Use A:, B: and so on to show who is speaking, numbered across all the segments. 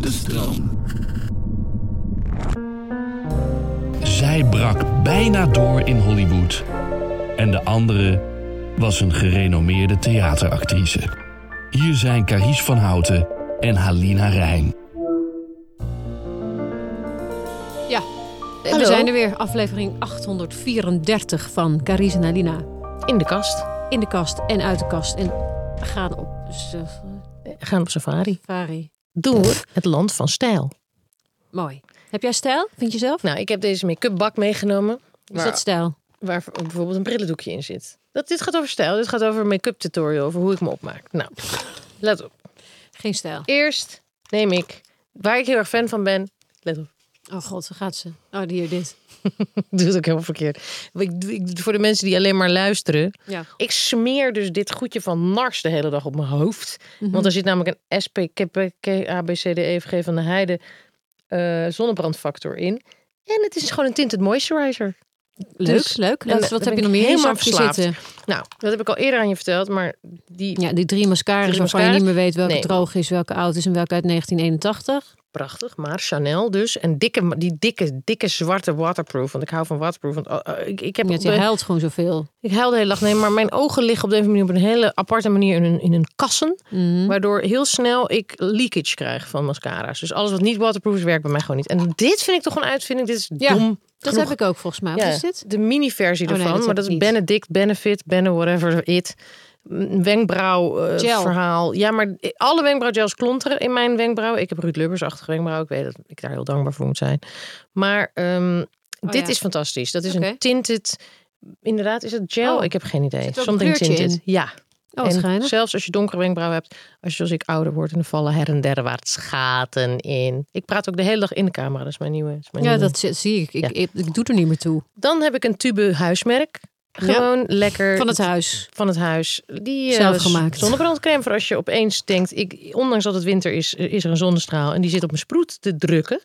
A: luchtstroom. Zij brak bijna door in Hollywood. En de andere was een gerenommeerde theateractrice. Hier zijn Carice van Houten en Halina Rijn.
B: Ja, we
C: Hallo.
B: zijn er weer. Aflevering 834 van Carice en Alina.
C: In de kast.
B: In de kast en uit de kast. En gaan op
C: Gaan op safari.
B: safari.
C: Door het land van stijl.
B: Mooi. Heb jij stijl, vind je zelf?
C: Nou, ik heb deze make-up bak meegenomen.
B: Is
C: Waar,
B: dat stijl?
C: waar bijvoorbeeld een brillendoekje in zit. Dat, dit gaat over stijl. Dit gaat over een make-up tutorial. Over hoe ik me opmaak. Nou, let op.
B: Geen stijl.
C: Eerst neem ik, waar ik heel erg fan van ben. Let op.
B: Oh god, zo gaat ze. Oh, hier, dit.
C: Ik doe het ook helemaal verkeerd. Ik, ik- voor de mensen die alleen maar luisteren.
B: Ja.
C: Ik smeer dus dit goedje van Nars de hele dag op mijn hoofd.
B: Mhm.
C: Want er zit namelijk een SP, ABCDEFG E van de Heide eh, zonnebrandfactor in. En het is gewoon een tinted moisturizer.
B: Leuk,
C: Dus-
B: leuk.
C: en
B: Dat,
C: daar
B: wat heb
C: ben
B: je nog
C: ik
B: meer in je
C: helemaal
B: zakje
C: verslaafd.
B: zitten?
C: Nou, dat heb ik al eerder aan je verteld, maar die...
B: Ja, die drie mascara's
C: Drie
B: waarvan je
C: mascara's?
B: niet meer weet welke
C: Nee.
B: droog is, welke oud is en welke uit 1981.
C: Prachtig, maar Chanel dus. En dikke, die dikke, dikke zwarte waterproof. Want ik hou van waterproof. Want oh, oh, ik, ik, heb
B: Ja,
C: op
B: je
C: de-
B: huilt gewoon zoveel.
C: ik huil de hele dag. Nee, maar mijn ogen liggen op deze manier op een hele aparte manier in een, in een kassen.
B: Mhm.
C: Waardoor heel snel ik leakage krijg van mascara's. Dus alles wat niet waterproof is, werkt bij mij gewoon niet. En dit vind ik toch een uitvinding. Dit is
B: Ja,
C: dom.
B: Dat
C: genoeg.
B: heb ik ook volgens mij. Wat
C: Ja,
B: is dit?
C: De mini-versie
B: Oh, nee,
C: ervan.
B: dat
C: maar
B: heb
C: dat
B: ik
C: is
B: niet.
C: Benedict, Benefit, Bene whatever it. Een Wenkbrauw eh,
B: Gel.
C: verhaal. Ja, maar alle wenkbrauwgels klonteren in mijn wenkbrauw. Ik heb Ruud Lubbers-achtige wenkbrauw. Ik weet dat ik daar heel dankbaar voor moet zijn. Maar ehm,
B: Oh,
C: dit
B: ja.
C: is fantastisch. Dat is
B: Oké.
C: een tinted... Inderdaad, is het gel?
B: Oh.
C: Ik heb geen idee.
B: Zit er ook een
C: Something
B: kleurtje
C: tinted. Ja.
B: Oh, wat
C: En
B: geinig.
C: zelfs als je donkere wenkbrauwen hebt, als je zoals ik ouder wordt, en dan vallen her en derwaarts gaten in. Ik praat ook de hele dag in de camera, dat is mijn nieuwe. dat is mijn
B: Ja,
C: nieuwe.
B: dat zi- zie ik. Ik,
C: Ja.
B: ik, ik doe er niet meer toe.
C: Dan heb ik een tube huismerk.
B: Ja.
C: Gewoon lekker
B: Van het huis.
C: van het huis. Die eh,
B: Zelf gemaakt.
C: zonnebrandcrème voor als je opeens denkt, ik, ondanks dat het winter is, eh, is er een zonnestraal en die zit op mijn sproet te drukken.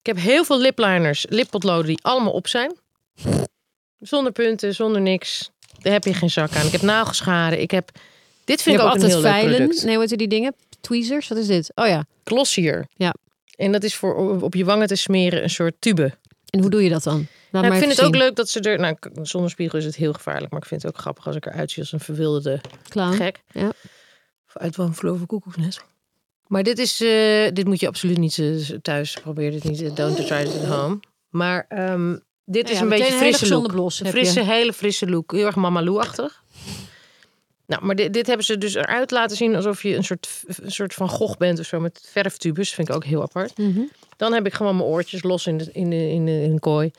C: Ik heb heel veel lipliners, lippotloden die allemaal op zijn. Zonder punten, zonder niks. Daar heb je geen zak aan. Ik heb nagelscharen. Ik heb dit
B: Je
C: vind
B: hebt
C: ik ook een
B: altijd
C: heel leuk
B: veilen.
C: product.
B: Nee, wat die dingen? Tweezers? Wat is dit? Oh ja.
C: Glossier.
B: Ja.
C: En dat is voor op je wangen te smeren een soort tube.
B: En hoe doe je dat dan? Laat maar
C: Nou, ik vind
B: even
C: het ook
B: zien.
C: leuk dat ze er. Nou, k- zonder spiegel is het heel gevaarlijk. Maar ik vind het ook grappig als ik eruit zie als een verwilderde
B: Clown.
C: gek.
B: ja.
C: Of uit Wanverloven koekoeksnest. Maar dit is. eh, dit moet je absoluut niet eh, thuis proberen. Dit niet. eh, Don't try it at home. Maar ehm, dit
B: Nou
C: is
B: ja, meteen
C: een beetje
B: een hele
C: frisse
B: gezonde
C: look.
B: blos
C: Een
B: heb
C: frisse, hele frisse look. Heel erg Mama Lou-achtig. Nou, maar dit, dit hebben ze dus eruit laten zien alsof je een soort, een soort van goch bent of zo met verftubus. Vind ik ook heel apart.
B: Mhm.
C: Dan heb ik gewoon mijn oortjes los in, de, in, de, in, de, in een kooi.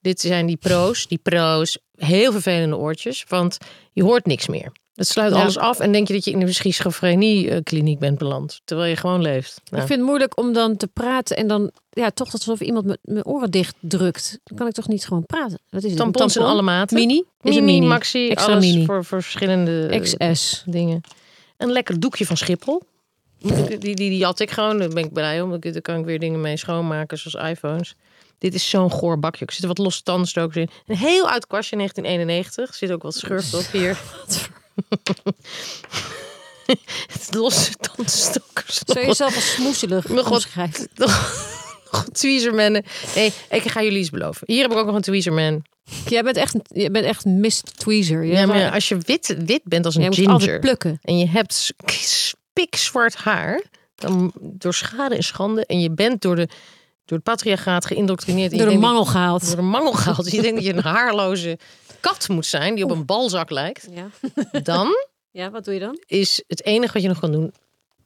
C: Dit zijn die pro's, die pro's. Heel vervelende oortjes, want je hoort niks meer. Het sluit
B: Ja.
C: alles af en denk je dat je in een schizofrenie-kliniek bent beland. Terwijl je gewoon leeft. Nou,
B: Ik vind het moeilijk om dan te praten en dan ja, toch alsof iemand me- mijn oren dicht drukt. Dan kan ik toch niet gewoon praten? Wat is het? Een
C: tampons in
B: tampon?
C: alle maten.
B: Mini? Is
C: mini,
B: een
C: maxi,
B: Extra
C: alles
B: mini.
C: Voor, voor verschillende eh,
B: XS.
C: dingen. Een lekker doekje van Schiphol. Die, die, die jat ik gewoon. Daar ben ik blij om. Ik- Daar kan ik weer dingen mee schoonmaken, zoals iPhones. Dit is zo'n goor bakje. Er zitten wat losse tandstokers in. Een heel oud kastje, 1991. Er zit ook wat scheurpapier. losse tandstokers.
B: Zou je jezelf als smoeselig
C: Nog wat-
B: omschrijven?
C: Nog tweezermannen. Nee, ik ga jullie iets beloven. Hier heb ik ook nog een tweezerman.
B: Jij bent echt, een- jij bent echt een mist tweezer. Jij,
C: Ja, maar
B: jij
C: als je wit, wit bent als een
B: moet altijd
C: ginger...
B: plukken.
C: en je hebt s- k- spikzwart haar... dan door schade en schande... en je bent door, de, door het patriarchaat geïndoctrineerd... en je
B: Door een
C: denkt-
B: mangel gehaald.
C: door een mangel gehaald. Dus je denkt dat je een haarloze kat moet zijn... die op een balzak lijkt.
B: Ja.
C: Dan
B: ja, wat doe je dan?
C: is het enige wat je nog kan doen...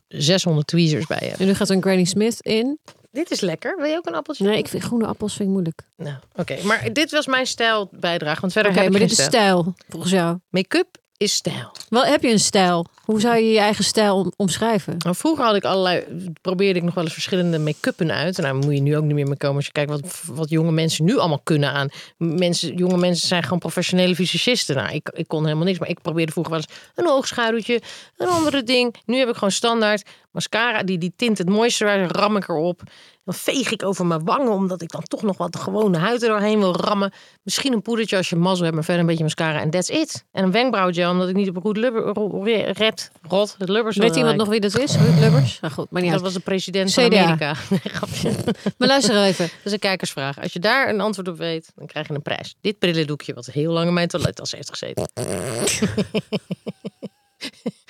C: 600 tweezers bij je. hebben.
B: En nu gaat een Granny Smith in.
C: Dit is lekker. Wil je ook een appeltje?
B: Nee, ik vind groene appels vind ik moeilijk.
C: Nou, oké. Maar dit was mijn stijlbijdrage. Want verder
B: Oké,
C: heb ik
B: maar
C: geen
B: dit is
C: stijl.
B: stijl, volgens jou.
C: Make-up is stijl.
B: Wel, heb je een stijl? Hoe zou je je eigen stijl om- omschrijven?
C: Nou, vroeger had ik allerlei, probeerde ik nog wel eens verschillende make-uppen uit. Nou, moet je nu ook niet meer mee komen als je kijkt wat, wat jonge mensen nu allemaal kunnen aan. Mensen, jonge mensen zijn gewoon professionele fysicisten. Nou, ik, ik kon helemaal niks, maar ik probeerde vroeger wel eens een oogschaduwtje, een andere ding. Nu heb ik gewoon standaard mascara, die, die tint het mooiste, ram ik erop. Dan veeg ik over mijn wangen, omdat ik dan toch nog wat gewone huid er doorheen wil rammen. Misschien een poedertje als je mazzel hebt, maar verder een beetje mascara en that's it. En een wenkbrauwgel, omdat ik niet op Ruud Lubber, Ru- Ru- Red Hebt, rot, het Lubbers.
B: Weet iemand nog wie dat is? Ruud Lubbers? Nou goed, maar niet
C: Dat
B: uit.
C: was de president van
B: CDA.
C: Amerika. Nee, grapje.
B: Maar luister nou even.
C: Dat is een kijkersvraag. Als je daar een antwoord op weet, dan krijg je een prijs. Dit brillendoekje, wat heel lang in mijn toilettas heeft gezeten.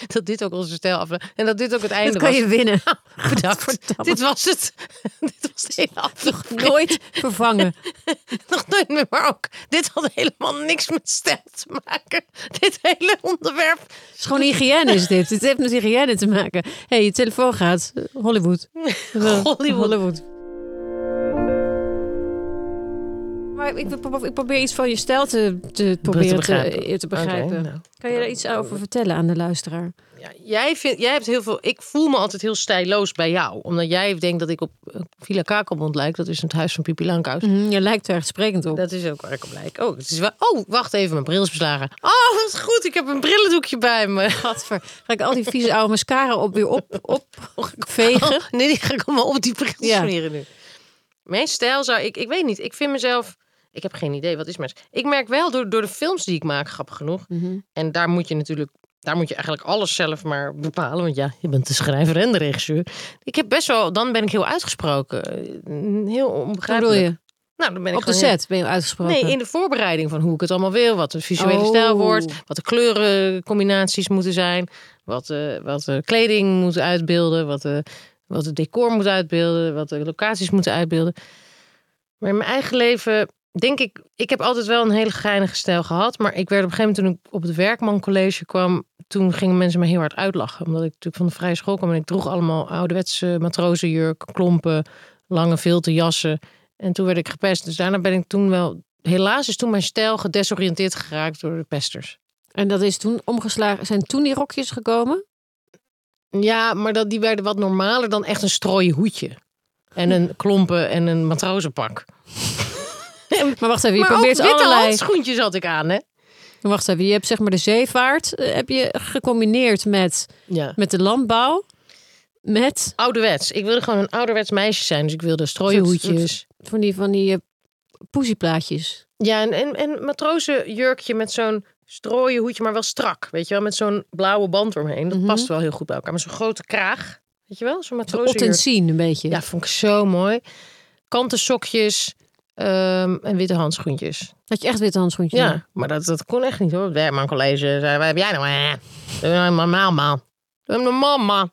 C: dat dit ook onze stijl aflevering. En dat dit ook het einde
B: Dat kan
C: was.
B: je winnen.
C: Bedankt.
B: Verdamme.
C: Dit was het. dit was de hele
B: Nog
C: aflevering.
B: nooit vervangen.
C: Nog nooit meer, maar ook. Dit had helemaal niks met stijl te maken. Dit hele onderwerp.
B: Het is gewoon hygiëne is dit. Het heeft met hygiëne te maken. Hé, hey, je telefoon gaat. Hollywood.
C: Hollywood.
B: Maar ik, pro- ik probeer iets van je stijl te, te proberen te eh,
C: begrijpen.
B: te, begrijpen.
C: Oké, nou.
B: Kan je daar iets over vertellen aan de luisteraar?
C: Ja, jij, vindt, jij hebt heel veel. Ik voel me altijd heel stijloos bij jou. Omdat jij denkt dat ik op eh, Villa Kakelmond lijk. Dat is het huis van Pipi Lankhuis.
B: Je lijkt er echt sprekend op.
C: Dat is ook waar ik op lijk. Oh, het is wel... oh, wacht even. Mijn bril is beslagen. Oh, wat goed. Ik heb een brillendoekje bij me.
B: Gadver. Ga ik al die vieze oude mascara op weer op, op vegen?
C: Oh, nee, die ga ik allemaal op die bril
B: Ja.
C: smeren nu. Mijn stijl zou ik, ik weet niet, ik vind mezelf, ik heb geen idee, wat is mijn Ik merk wel door, door de films die ik maak, grappig genoeg.
B: Mhm.
C: En daar moet je natuurlijk, daar moet je eigenlijk alles zelf maar bepalen. Want ja, je bent de schrijver en de regisseur. Ik heb best wel, dan ben ik heel uitgesproken. eh, Heel
B: Hoe bedoel
C: onbegrijpelijk.
B: je?
C: Nou, dan ben ik
B: Op de
C: gewoon heel-
B: set ben je uitgesproken.
C: Nee, in de voorbereiding van hoe ik het allemaal wil. Wat de visuele
B: Oh.
C: stijl wordt. Wat de kleurencombinaties moeten zijn. Wat, eh, wat de kleding moet uitbeelden. Wat, de wat het decor moet uitbeelden. Wat de locaties moeten uitbeelden. Maar in mijn eigen leven denk ik... Ik heb altijd wel een hele geinige stijl gehad. Maar ik werd op een gegeven moment toen ik op het Werkman College kwam... Toen gingen mensen me heel hard uitlachen. Omdat ik natuurlijk van de vrije school kwam. En ik droeg allemaal ouderwetse matrozenjurk, klompen, lange filterjassen. En toen werd ik gepest. Dus daarna ben ik toen wel... Helaas is toen mijn stijl gedesoriënteerd geraakt door de pesters.
B: En dat is toen omgeslagen. Zijn toen die rokjes gekomen?
C: Ja, maar dat, die werden wat normaler dan echt een strooien hoedje. En een klompen en een matrozenpak.
B: Maar wacht even, je
C: maar ook
B: probeert
C: witte
B: allerlei.
C: handschoentjes had ik aan, hè?
B: Wacht even, je hebt zeg maar de zeevaart eh, heb je gecombineerd met,
C: Ja.
B: met de landbouw. Met
C: Ouderwets. Ik wilde gewoon een ouderwets meisje zijn. Dus ik wilde strooien
B: Soort- soort-
C: hoedjes.
B: van die, van die eh, poesieplaatjes.
C: Ja, en, en, en matrozenjurkje met zo'n strooien hoedje, maar wel strak. Weet je wel, met zo'n blauwe band eromheen. Dat
B: Mhm.
C: past wel heel goed bij elkaar. Met zo'n grote kraag. Weet je wel, zo'n matrozenjurk.
B: Ottensien een beetje.
C: Ja, vond ik zo mooi. Kanten sokjes ehm, en witte handschoentjes.
B: Dat je echt witte handschoentjes
C: Ja,
B: aan.
C: maar dat, dat kon echt niet hoor. Het Werkman College, zei, wat heb jij nou? eh? Doe nou normaal man. Doe nou normaal man.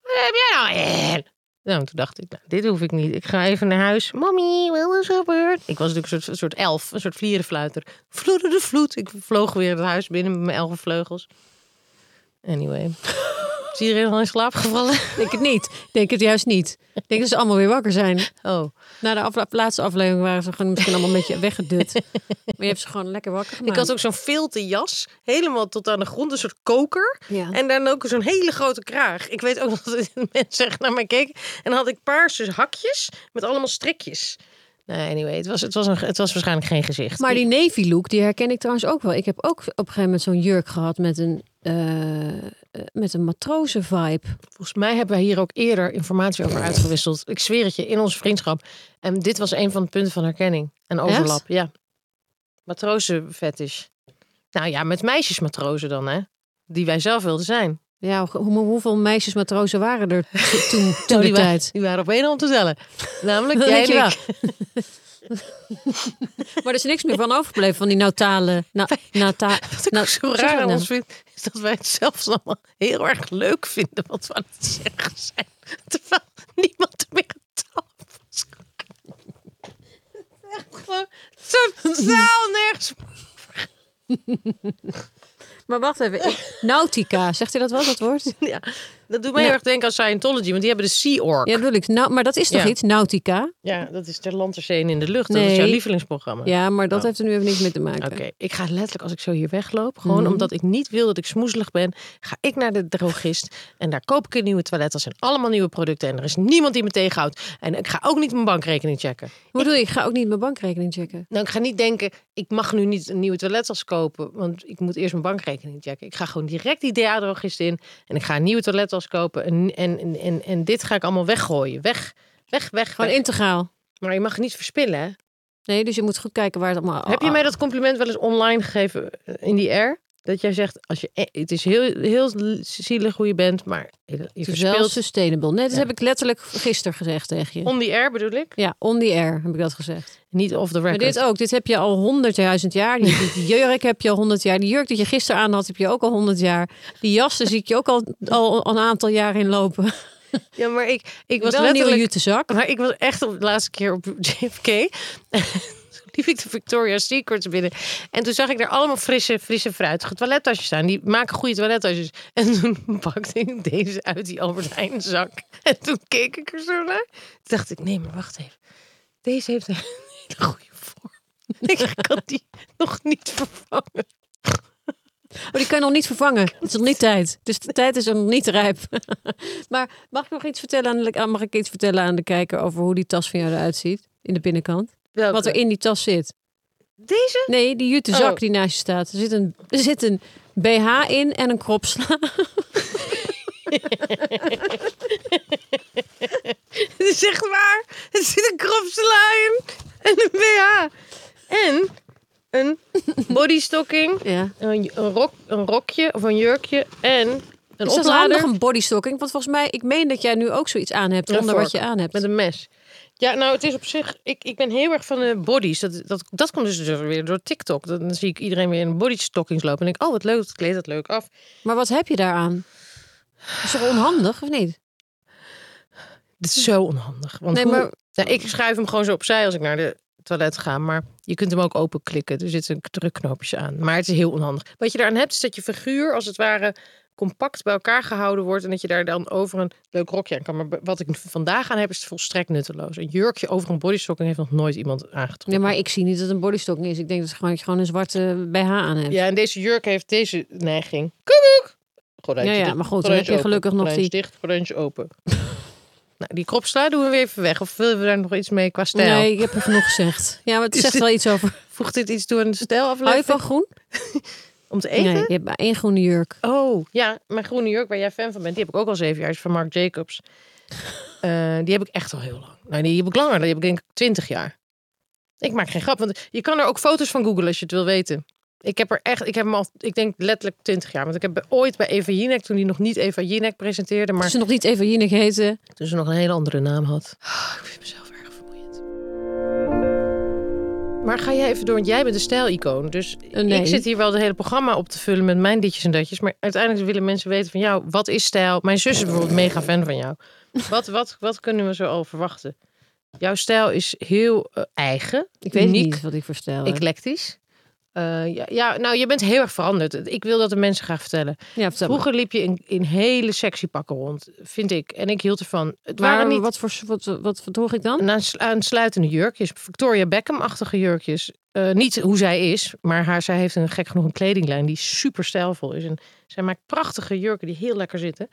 C: Wat heb jij nou? eh? Nou, toen dacht ik, nou, dit hoef ik niet. Ik ga even naar huis. Mommy, wat is er gebeurd? Ik was natuurlijk een soort, een soort elf, een soort vlierenfluiter. Vloeden de vloed. Ik vloog weer het huis binnen met mijn elfenvleugels. Anyway. Is iedereen al in slaap gevallen?
B: Ik denk het niet. Ik denk het juist niet. Ik denk dat ze allemaal weer wakker zijn.
C: Oh.
B: Na de afla- laatste aflevering waren ze gewoon misschien allemaal een beetje weggedut. Maar je hebt ze gewoon lekker wakker
C: Ik
B: gemaakt.
C: had ook zo'n filterjas, helemaal tot aan de grond, een soort koker.
B: Ja.
C: En dan ook zo'n hele grote kraag. Ik weet ook nog dat mensen echt naar mij keken. En dan had ik paarse hakjes met allemaal strikjes. Nou, anyway, het was, het was, een, het was waarschijnlijk geen gezicht.
B: Maar die navy look, die herken ik trouwens ook wel. Ik heb ook op een gegeven moment zo'n jurk gehad met een, eh, eh, met een matrozen vibe.
C: Volgens mij hebben wij hier ook eerder informatie over uitgewisseld. Ik zweer het je, in onze vriendschap. En dit was een van de punten van herkenning. En overlap, ja. Matrozenfetish. Nou ja, met meisjesmatrozen dan, hè. Die wij zelf wilden zijn.
B: Ja, hoe, hoe- hoeveel meisjes matrozen waren er to- toen, toen
C: Nou,
B: die
C: die, waren,
B: tijd?
C: die waren op één hand te tellen. Namelijk
B: Dat
C: jij
B: weet je
C: en
B: wel.
C: ik.
B: Maar er is niks meer van overgebleven van die nautale... Na, nata,
C: Wat ik
B: na-
C: ook zo
B: zeg
C: raar
B: het
C: aan
B: nou.
C: ons vind, is dat wij het zelfs allemaal heel erg leuk vinden wat we aan het zeggen zijn. Terwijl niemand er meer aan tafel is. Echt gewoon totaal nergens.
B: Maar wacht even. ik- Nautica, zegt u dat wel, dat woord?
C: Ja, dat doet mij heel
B: Ja.
C: erg denken aan Scientology, want die hebben de Sea
B: Nou. Ja,
C: Org. Ja,
B: dat bedoel ik. Nou, maar dat is toch
C: Ja.
B: iets, Nautica?
C: dat is ter land, ter zee en in de lucht. Dat is
B: Nee.
C: jouw lievelingsprogramma.
B: Ja, maar dat
C: Oh.
B: heeft er nu even niks mee te maken.
C: Oké, ik ga letterlijk als ik zo hier wegloop, gewoon
B: Mhm.
C: omdat ik niet wil dat ik smoezelig ben, ga ik naar de drogist en daar koop ik een nieuwe toilet. Dat zijn allemaal nieuwe producten en er is niemand die me tegenhoudt. En ik ga ook niet mijn bankrekening checken.
B: Hoe bedoel je, ik ga ook niet mijn bankrekening checken.
C: Nou, ik ga niet denken, ik mag nu niet een nieuwe toilettas kopen, want ik moet eerst mijn bankrekening checken. Ik ga gewoon direct die DA-drogist in en ik ga een nieuwe toilettas kopen en, en, en, en, en dit ga ik allemaal weggooien. Weg, weg, weg.
B: Gewoon
C: weg.
B: integraal.
C: Maar je mag het niet verspillen, hè? Ah,
B: Nee, dus je moet goed kijken waar het allemaal...
C: Heb je mij dat compliment wel eens online gegeven eh, in die air? dat jij zegt, als je, eh, het is heel, heel zielig hoe je bent, maar je, je
B: Het is wel
C: verspeelt
B: sustainable. Nee, dat
C: Ja.
B: heb ik letterlijk gisteren gezegd tegen je.
C: on the air bedoel ik.
B: Ja, on the air heb ik dat gezegd.
C: Niet off the
B: Maar
C: record.
B: dit ook, dit heb je al honderdduizend jaar. Die, die jurk heb je al honderd jaar. Die jurk dat je gisteren aan had, heb je ook al honderd jaar. Die jassen zie ik je ook al, al een aantal jaar in lopen.
C: Ja, maar ik, ik was
B: wel een nieuwe
C: letterlijk...
B: jute zak.
C: Maar ik was echt op de laatste keer op JFK. Toen liep ik de Victoria's Secret binnen. En toen zag ik daar allemaal frisse, frisse fruitige toilettasjes staan. Die maken goede toilettasjes. En toen pakte ik deze uit die Albert Heijn zak. En toen keek ik er zo naar. Toen dacht ik, nee, maar wacht even. Deze heeft een hele goede vorm. Ik kan die nog niet vervangen.
B: Maar die kan je nog niet vervangen. Het is nog niet tijd. Dus de tijd is nog niet rijp. maar mag ik nog iets vertellen aan de, ah, mag ik iets vertellen aan de kijker over hoe die tas van jou eruit ziet? In de binnenkant. Wat er in die tas zit.
C: Deze?
B: Nee, die jute zak
C: Oh.
B: die naast je staat. Er zit een, er zit een BH in en een kropsla.
C: Het is echt waar. Er zit een kropsla in en een BH. En een bodystocking,
B: Ja.
C: een, een, rok, een rokje of een jurkje en een
B: Is dat
C: oplader
B: handig, een bodystocking? Want volgens mij, ik meen dat jij nu ook zoiets aan hebt
C: Een
B: onder wat je
C: vork.
B: aan hebt.
C: met een mes. Ja, nou, het is op zich... Ik, ik ben heel erg van de bodies. Dat, dat, dat komt dus weer door TikTok. Dan zie ik iedereen weer in bodystockings lopen. En denk ik, oh, wat leuk, dat kleedt dat leuk af.
B: Maar wat heb je daaraan? Is toch onhandig of niet?
C: Dit is zo onhandig. Want
B: Hm. Nee,
C: hoe-
B: maar
C: Nou, ik schuif hem gewoon zo opzij als ik naar de toilet ga. Maar je kunt hem ook openklikken. Er zitten drukknoopjes aan. Maar het is heel onhandig. Wat je daaraan hebt, is dat je figuur als het ware compact bij elkaar gehouden wordt. En dat je daar dan over een leuk rokje aan kan. Maar wat ik vandaag aan heb, is volstrekt nutteloos. Een jurkje over een bodystocking heeft nog nooit iemand aangetrokken.
B: Nee, maar ik zie niet dat het een bodystocking is. Ik denk dat het gewoon, dat je gewoon een zwarte BH aan hebt. Ja,
C: Ja, en deze jurk heeft deze neiging. Koekoek! Gordijntje
B: Ja, ja,
C: dicht,
B: maar goed, dan
C: gordijntje
B: heb je
C: open,
B: gelukkig nog
C: gordijntje dicht, gordijntje open. nou, die kropsla doen we weer even weg. Of willen we daar nog iets mee qua stijl?
B: nee, ik heb er genoeg gezegd. Ja, maar het
C: Is
B: zegt
C: dit-
B: wel iets over.
C: Voegt dit iets toe aan de
B: Hou je
C: stijlaflevering?
B: van groen?
C: Om te eten?
B: Nee, je hebt maar één groene jurk.
C: Oh, ja. Mijn groene jurk, waar jij fan van bent, die heb ik ook al zeven jaar. is van Marc Jacobs. Eh, die heb ik echt al heel lang. Nou, die heb ik langer. Die heb ik denk ik twintig jaar. Ik maak geen grap, want je kan er ook foto's van googlen als je het wil weten. Ik heb er echt, ik heb hem al, ik denk letterlijk twintig jaar. Want ik heb bij- ooit bij Eva Jinek, toen die nog niet Eva Jinek presenteerde, maar
B: Als ze nog niet even Jinek heten.
C: toen ze nog een hele andere naam had. Ah, Ik vind mezelf erg vermoeiend. Maar ga jij even door, want jij bent de stijlicoon. Dus
B: Eh, nee.
C: ik zit hier wel het hele programma op te vullen met mijn ditjes en datjes. Maar uiteindelijk willen mensen weten van jou, wat is stijl? Mijn zus is bijvoorbeeld mega fan van jou. Wat, wat, wat kunnen we zo al verwachten? Jouw stijl is heel eh, eigen,
B: Ik weet
C: uniek,
B: niet wat ik verstel. Ik...
C: eclectisch. Eh, ja, ja, nou, je bent heel erg veranderd. Ik wil dat de mensen graag vertellen.
B: Ja, vertel maar.
C: Vroeger liep je in, in hele sexy pakken rond, vind ik. En ik hield ervan. Het
B: Maar
C: waren niet
B: wat, voor, wat, wat verdroeg ik dan?
C: een aanslu- aansluitende jurkjes. Victoria Beckham-achtige jurkjes. Eh, niet hoe zij is, maar haar, zij heeft een gek genoeg een kledinglijn die super stijlvol is. En zij maakt prachtige jurken die heel lekker zitten.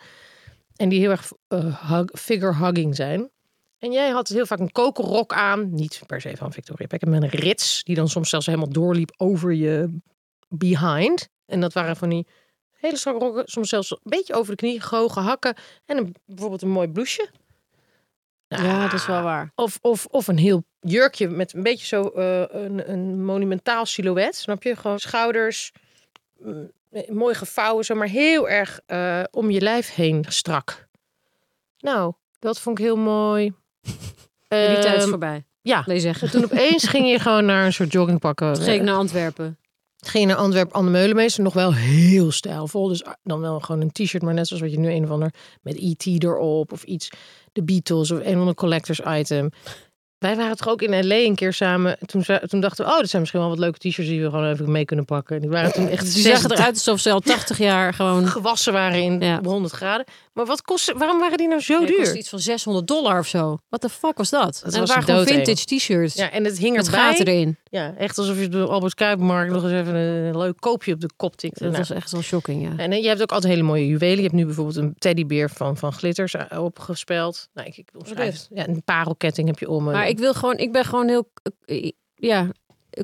C: En die heel erg eh, hug- figure-hugging zijn. En jij had heel vaak een kokelrok aan. Niet per se van Victoria Beckham. Met een rits die dan soms zelfs helemaal doorliep over je behind. En dat waren van die hele strakke rokken. Soms zelfs een beetje over de knie. Hoge hakken. En een, bijvoorbeeld een mooi blouseje.
B: Ja, dat is wel waar.
C: Of, of, of een heel jurkje met een beetje zo eh, een, een monumentaal silhouet. Snap je? Gewoon schouders, mm, eh, mooi gevouwen, zo, maar heel erg eh, om je lijf heen strak. Nou, dat vond ik heel mooi.
B: Ja, die tijd is
C: Ehm,
B: voorbij.
C: ja.
B: Nee, zeggen.
C: Toen opeens ging je gewoon naar een soort eh, joggingpakken.
B: Toen ging ik naar Antwerpen.
C: Ging naar Antwerp Anne Meulemeester, nog wel heel stijlvol. Dus dan wel gewoon een t-shirt, maar net zoals wat je nu een of ander met E.T. erop of iets. De Beatles of een of ander collectors item. Wij waren toch ook in L.A. een keer samen. Toen, ze- toen dachten we, oh, dat zijn misschien wel wat leuke t-shirts die we gewoon even mee kunnen pakken. En Die waren toen echt
B: Ze zagen
C: 60
B: eruit alsof ze al 80 jaar gewoon...
C: gewassen waren in
B: Ja.
C: 100 graden. Maar wat kostte, waarom waren die nou zo
B: Ja, het
C: duur?
B: kostte iets van 600 dollar of zo. Wat de fuck was dat? en
C: was
B: dat waren gewoon
C: doodeng.
B: vintage t-shirts.
C: Ja, en het hing
B: Met
C: erbij.
B: gaten erin.
C: Ja, echt alsof je op de Albert Kuipmarkt nog eens even een leuk koopje op de kop tikt.
B: Dat was echt wel shocking, ja.
C: En eh, je hebt ook altijd hele mooie juwelen. Je hebt nu bijvoorbeeld een teddybeer van, van glitters eh, opgespeld. Nou, ik, ik omschrijf het. Ja, een parelketting heb je om. eh,
B: Maar ik wil gewoon, ik ben gewoon heel, eh, ja,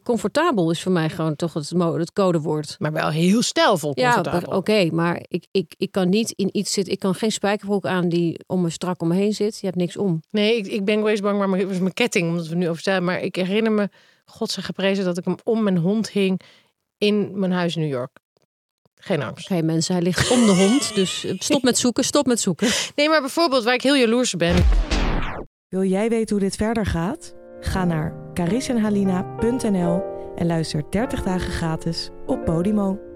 B: comfortabel is voor mij gewoon toch het, mo- het codewoord.
C: maar wel heel stijlvol
B: Ja,
C: comfortabel.
B: oké, maar ik, ik, ik kan niet in iets zitten. Ik kan geen spijkerbroek aan die om me strak om me heen zit. Je hebt niks om.
C: Nee, ik, ik ben wel eens bang, maar mijn- het was mijn ketting, omdat we nu over zijn. Maar ik herinner me, God zij geprezen, dat ik hem om mijn hond hing in mijn huis in New York. Geen angst.
B: Oké mensen, hij ligt om de hond. Dus eh, stop met zoeken, stop met zoeken.
C: Nee, maar bijvoorbeeld waar ik heel jaloers op ben.
D: Wil jij weten hoe dit verder gaat? Ga naar carissenhalina.nl en luister 30 dagen gratis op Podimo.